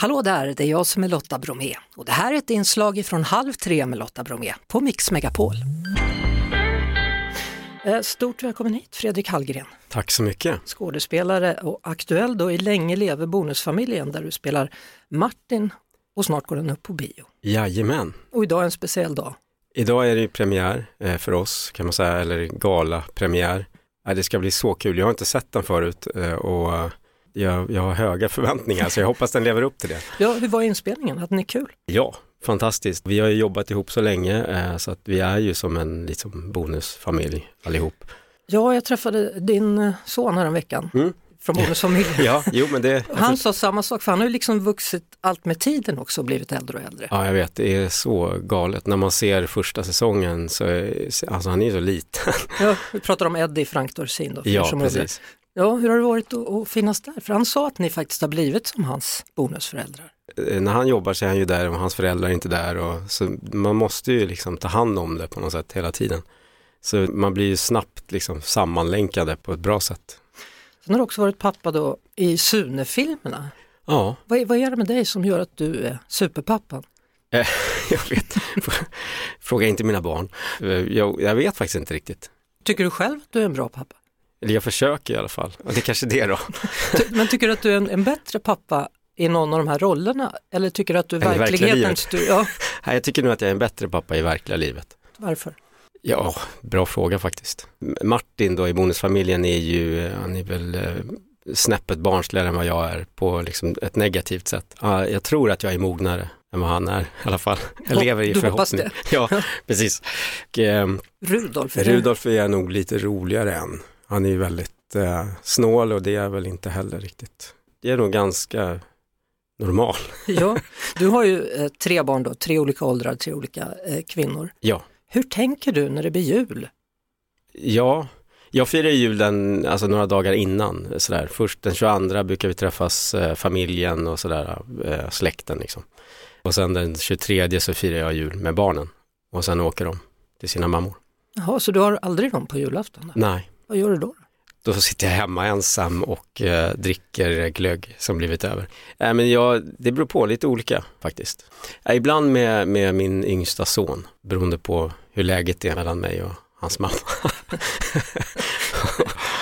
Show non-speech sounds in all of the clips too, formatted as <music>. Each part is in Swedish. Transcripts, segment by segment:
Hallå där, det är jag som är Lotta Bromé och det här är ett inslag från Halv tre med Lotta Bromé på Mix Megapol. Eh, Stort välkommen hit Fredrik Hallgren, Tack så mycket. skådespelare och aktuell då i Länge leve Bonusfamiljen där du spelar Martin och snart går den upp på bio. Jajamän. Och idag är en speciell dag. Idag är det ju premiär eh, för oss kan man säga, eller gala premiär. Det ska bli så kul. Jag har inte sett den förut eh, och eh, jag, jag har höga förväntningar så jag hoppas den lever upp till det. Ja, hur var inspelningen? Hade ni kul? Ja, fantastiskt. Vi har ju jobbat ihop så länge eh, så att vi är ju som en liksom, bonusfamilj allihop. Ja, jag träffade din eh, son häromveckan Mm. från <laughs> Bonusfamiljen. Ja, jo men det... Och Han sa samma sak, för han har ju liksom vuxit allt med tiden också och blivit äldre och äldre. Ja, jag vet, det är så galet. När man ser första säsongen så, är- alltså han är ju så liten. Ja, vi pratar om Eddie Frank Dorsin då. för er <laughs> Ja, som undrar. precis. Ja, hur har det varit att, att finnas där? För han sa att ni faktiskt har blivit som hans bonusföräldrar. Eh, när han jobbar så är han ju där och hans föräldrar är inte där. Och, så man måste ju liksom ta hand om det på något sätt hela tiden. Så man blir ju snabbt liksom sammanlänkade på ett bra sätt. Sen har du också varit pappa då i Sune-filmerna. Ja, Vad, är- vad är det med dig som gör att du är superpappan? <laughs> jag vet. <laughs> Fråga inte mina barn. Eh, Jag, jag vet faktiskt inte riktigt. Tycker du själv att du är en bra pappa? Eller jag försöker i alla fall. Ja, Det är kanske är det då. <laughs> Ty- Men tycker du att du är en, en bättre pappa i någon av de här rollerna? Eller tycker du att du är Eller i verkliga verklighetens... Du, ja, Nej, jag tycker nog att jag är en bättre pappa i verkliga livet. varför? Ja, bra fråga faktiskt. M- Martin då i bonusfamiljen är ju, eh, han är väl eh, snäppet barnsligare än vad jag är på liksom ett negativt sätt. Ja, Jag tror att jag är mognare än vad han är i alla fall. Jag Hopp- lever i du hoppas förhoppning. Ja, precis. Och, eh, Rudolf? är det- Rudolf är nog lite roligare än. Han är ju väldigt eh, snål och det är jag väl inte heller riktigt. Det är nog ganska normal. <laughs> Ja, du har ju eh, tre barn då, tre olika åldrar, tre olika eh, kvinnor. Ja. Hur tänker du när det blir jul? Ja, jag firar ju julen alltså, några dagar innan. Sådär. Först den 22 brukar vi träffas, eh, familjen och sådär, eh, släkten. Liksom. Och sen den 23 så firar jag jul med barnen. Och sen åker de till sina mammor. Jaha, så du har aldrig dem på julafton? Nej, Vad gör du då? då sitter jag hemma ensam och eh, dricker glögg som blivit över. Nej, men jag, det beror på, lite olika faktiskt. Eh, ibland med, med min yngsta son, beroende på hur läget är mellan mig och hans mamma.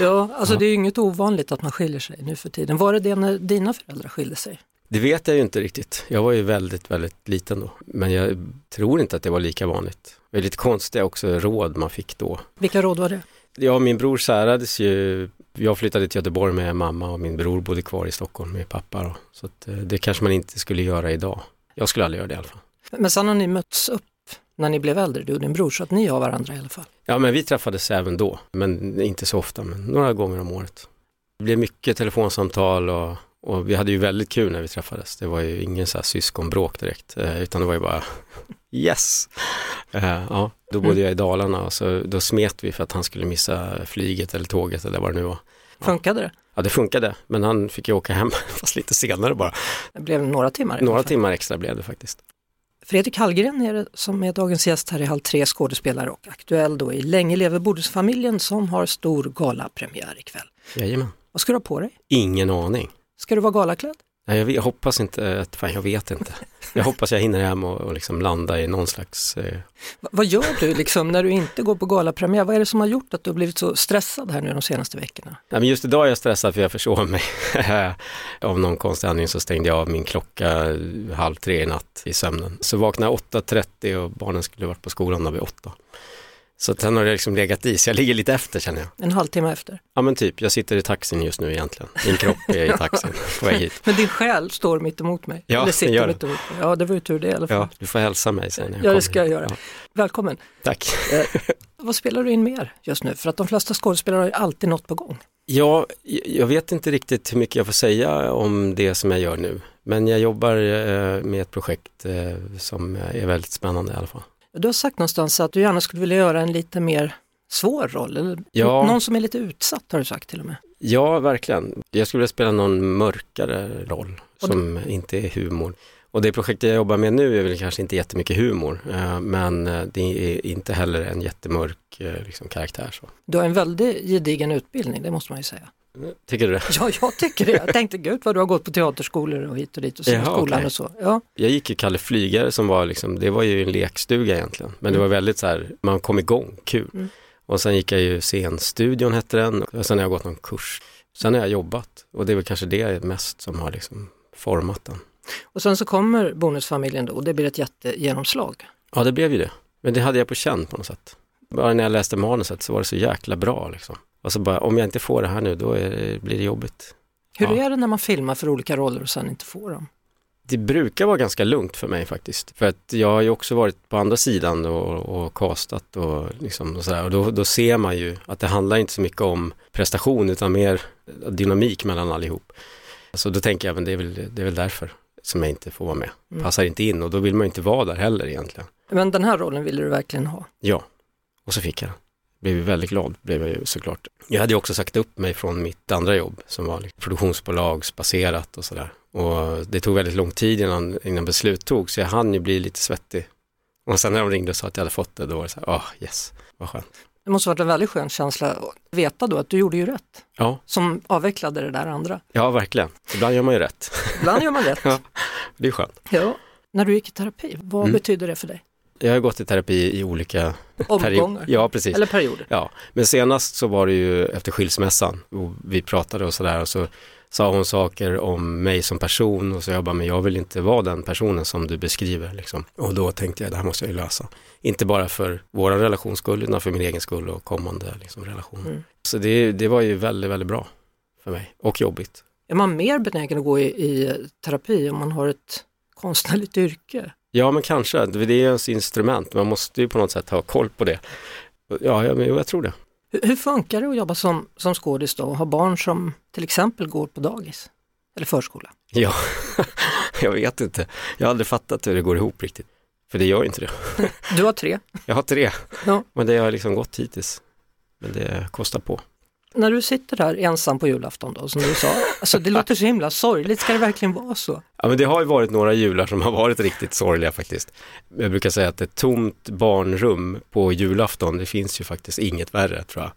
Ja, alltså det är ju inget ovanligt att man skiljer sig nu för tiden. Var det det när dina föräldrar skilde sig? Det vet jag ju inte riktigt. Jag var ju väldigt, väldigt liten då. Men jag tror inte att det var lika vanligt. Det är lite konstiga också råd man fick då. Vilka råd var det? Jag och min bror särades ju. Jag flyttade till Göteborg med mamma och min bror bodde kvar i Stockholm med pappa. Då. Så att eh, det kanske man inte skulle göra idag. Jag skulle aldrig göra det i alla fall. Men sen har ni mötts upp när ni blev äldre, du och din bror, så att ni har varandra i alla fall. Ja, men vi träffades även då. Men inte så ofta, men några gånger om året. Det blev mycket telefonsamtal och, och vi hade ju väldigt kul när vi träffades. Det var ju ingen så här syskonbråk direkt, eh, utan det var ju bara <laughs> yes. Eh, ja, då bodde Mm. jag i Dalarna och så, då smet vi för att han skulle missa flyget eller tåget eller vad det nu var. Ja. Funkade det? Ja, det funkade, men han fick ju åka hem, <laughs> fast lite senare bara. Det blev några timmar. i alla Några fall. timmar extra blev det faktiskt. Fredrik Hallgren är det som är dagens gäst här i Halv tre, skådespelare och aktuell då i Länge leve Bodhusfamiljen som har stor galapremiär ikväll. Jajamän. Vad ska du ha på dig? Ingen aning. Ska du vara galaklädd? Nej, jag, vet- jag hoppas inte, att, fan jag vet inte. Jag hoppas jag hinner hem och, och liksom landa i någon slags eh, Va- vad gör du liksom när du inte går på galapremiär? Vad är det som har gjort att du har blivit så stressad här nu de senaste veckorna? Nej, men just idag är jag stressad för jag försov mig. <laughs> av någon konstig anledning så stängde jag av min klocka eh, halv tre i natt i sömnen. Så vaknade jag 8.30 och barnen skulle varit på skolan då vid 8. Så att sen har det liksom legat i, så jag ligger lite efter känner jag. En halvtimme efter. Ja men typ, jag sitter i taxin just nu egentligen. Min kropp är i taxin på väg hit. Men din själ står mitt emot mig. Ja, Eller den sitter gör det. mitt emot mig. Ja, det var ju tur det i alla fall. Ja, du får hälsa mig sen. när Ja, det kommer ska jag hit. göra. Eh, Ja, Välkommen. tack. Vad spelar du in mer just nu? För att de flesta skådespelare har ju alltid något på gång. Ja, jag vet inte riktigt hur mycket jag får säga om det som jag gör nu. Men jag jobbar eh, med ett projekt eh, som är väldigt spännande i alla fall. Du har sagt någonstans att du gärna skulle vilja göra en lite mer svår roll, eller Ja. någon som är lite utsatt har du sagt till och med. Ja, verkligen. Jag skulle vilja spela någon mörkare roll som inte är humor. Och det projektet jag jobbar med nu är väl kanske inte jättemycket humor, eh, men eh, det är inte heller en jättemörk eh, liksom, karaktär. Så. Du har en väldigt gedigen utbildning, det måste man ju säga. Tycker du det? Ja, jag tycker det. Jag tänkte gud vad du har gått på teaterskolor och hit och dit och så Jaha, skolan okej. och så. Ja, Jag gick ju Kalle Flygare som var liksom, det var ju en lekstuga egentligen. Men det Mm. var väldigt så här, man kom igång, kul. Mm. Och sen gick jag ju Scenstudion hette den och sen har jag gått någon kurs. Sen har jag jobbat och det är väl kanske det mest som har liksom format den. och sen så kommer bonusfamiljen då och det blir ett jättegenomslag. Ja, det blev ju det. Men det hade jag på känn på något sätt. Bara när jag läste manuset så var det så jäkla bra liksom. Och så bara, om jag inte får det här nu, då är det, blir det jobbigt. Hur Ja. är det när man filmar för olika roller och sen inte får dem? Det brukar vara ganska lugnt för mig faktiskt. För att jag har ju också varit på andra sidan och, och castat och, liksom och sådär. Och då, då ser man ju att det handlar inte så mycket om prestation utan mer dynamik mellan allihop. Så då tänker jag, men det är väl, det är väl därför som jag inte får vara med. Mm. Passar inte in och då vill man ju inte vara där heller egentligen. Men den här rollen ville du verkligen ha. Ja, och så fick jag den. Blev ju väldigt glad, blev jag ju såklart. Jag hade ju också sagt upp mig från mitt andra jobb som var liksom produktionsbolagsbaserat och sådär. Och det tog väldigt lång tid innan, innan beslut togs, så jag hann ju bli lite svettig. Och sen när de ringde och sa att jag hade fått det, då var det så här, ah yes, vad skönt. Det måste varit en väldigt skön känsla att veta då att du gjorde ju rätt, Ja, som avvecklade det där andra. ja verkligen. Ibland gör man ju rätt. Ibland <laughs> gör man rätt. Ja. Det är skönt. Ja. När du gick i terapi, vad Mm. betyder det för dig? Jag har gått i terapi i olika perioder. Omgångar? Ja, precis. Eller perioder? Ja, men senast så var det ju efter skilsmässan och vi pratade och sådär och så sa hon saker om mig som person och så jag bara, men jag vill inte vara den personen som du beskriver liksom. Och då tänkte jag, det här måste jag ju lösa. Inte bara för vår relations skull, utan för min egen skull och kommande liksom, relationer. Mm. Så det, det var ju väldigt, väldigt bra för mig och jobbigt. Är man mer benägen att gå i, i terapi om man har ett konstnärligt yrke? Ja, men kanske, det är ju ens instrument, man måste ju på något sätt ha koll på det. Ja, jag, jag tror det. <laughs> Hur, hur funkar det att jobba som, som skådis då och ha barn som till exempel går på dagis eller förskola? Ja, jag vet inte. Jag har aldrig fattat hur det går ihop riktigt. För det gör ju inte det. Du har tre. Jag har tre, Ja. men det har liksom gått hittills. Men det kostar på. När du sitter där ensam på julafton då, som du sa, alltså det låter så himla sorgligt, ska det verkligen vara så? Ja, men det har ju varit några jular som har varit riktigt sorgliga faktiskt. Jag brukar säga att ett tomt barnrum på julafton, det finns ju faktiskt inget värre tror jag.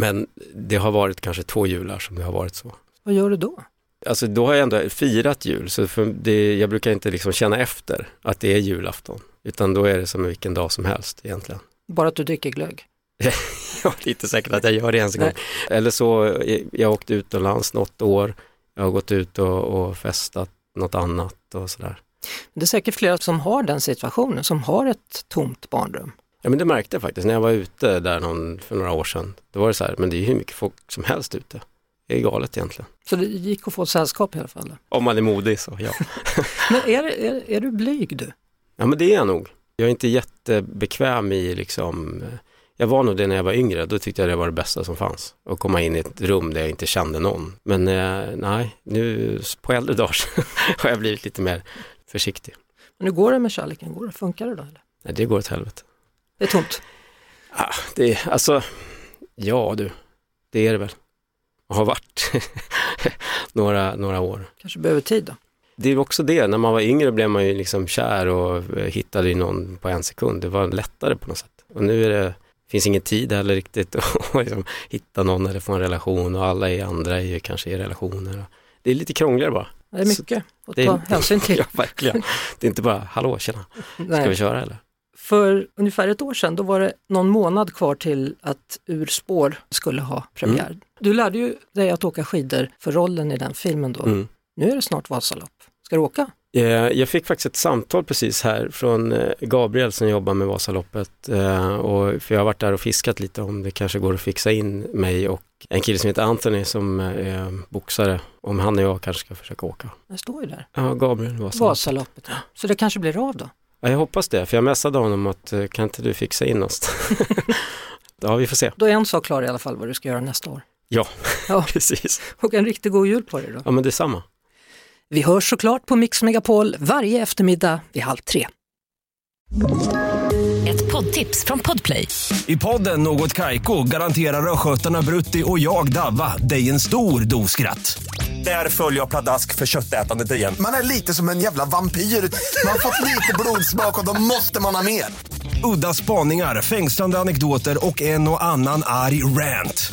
Men det har varit kanske två jular som det har varit så. Vad gör du då? Alltså då har jag ändå firat jul, så för det, jag brukar inte liksom känna efter att det är julafton, utan då är det som vilken dag som helst egentligen. Bara att du dricker glögg? <laughs> Jag är inte säker att jag gör det ens en gång. Eller så, eh, jag åkte utomlands något år, jag har gått ut och, och festat något annat och sådär. Det är säkert flera som har den situationen, som har ett tomt barnrum. Ja men det märkte jag faktiskt när jag var ute där någon, för några år sedan. Då var det så här, men det är ju hur mycket folk som helst ute. Det är galet egentligen. Så det gick att få sällskap i alla fall. Om man är modig så, ja. Men är, är, är du blyg du? Ja men det är jag nog. Jag är inte jättebekväm i liksom, eh, jag var nog det när jag var yngre, då tyckte jag det var det bästa som fanns. Att komma in i ett rum där jag inte kände någon. Men eh, nej, nu på äldre dagar <laughs> har jag blivit lite mer försiktig. Men hur går det med kärleken? Går det, funkar det då? Eller? Nej, det går åt helvete. Det är tomt. Ah, det, alltså, ja du, det är det väl. Och har varit <laughs> några, några år. Kanske behöver tid då? Det är också det, när man var yngre blev man ju liksom kär och eh, hittade ju någon på en sekund. Det var lättare på något sätt. Och nu är det, finns ingen tid heller riktigt <laughs> att liksom hitta någon eller få en relation och alla är andra är ju kanske i relationer. Det är lite krångligare bara. Det är Så mycket att det är ta inte- hänsyn till. <laughs> Ja, verkligen. Det är inte bara, hallå, tjena, ska vi Nej. köra eller? För ungefär ett år sedan, då var det någon månad kvar till att Ur spår skulle ha premiär. Du lärde ju dig att åka skidor för rollen i den filmen då. Mm. Nu är det snart Vasalopp. Ska du åka? Eh, Jag fick faktiskt ett samtal precis här från eh, Gabriel som jobbar med Vasaloppet. eh, Och för jag har varit där och fiskat lite om det kanske går att fixa in mig och en kille som heter Anthony som eh, är boxare. Om han och jag kanske ska försöka åka. Det står ju där. Ja, Gabriel Vasaloppet. Vasaloppet. Så det kanske blir av då? Ja, jag hoppas det, för jag messade honom att eh, kan inte du fixa in oss? <laughs> ja, vi får se. Då är en sak klar i alla fall vad du ska göra nästa år. Precis. Och en riktigt god jul på dig då. Ja, men detsamma. Vi hörs såklart på Mix Megapol varje eftermiddag vid halv tre. Ett poddtips från Podplay. I podden Något Kaiko garanterar östgötarna Brutti och jag, Davva, dig en stor dos skratt. Där följer jag pladask för köttätandet igen. Man är lite som en jävla vampyr. Man har fått lite blodsmak och då måste man ha mer. Udda spaningar, fängslande anekdoter och en och annan arg rant.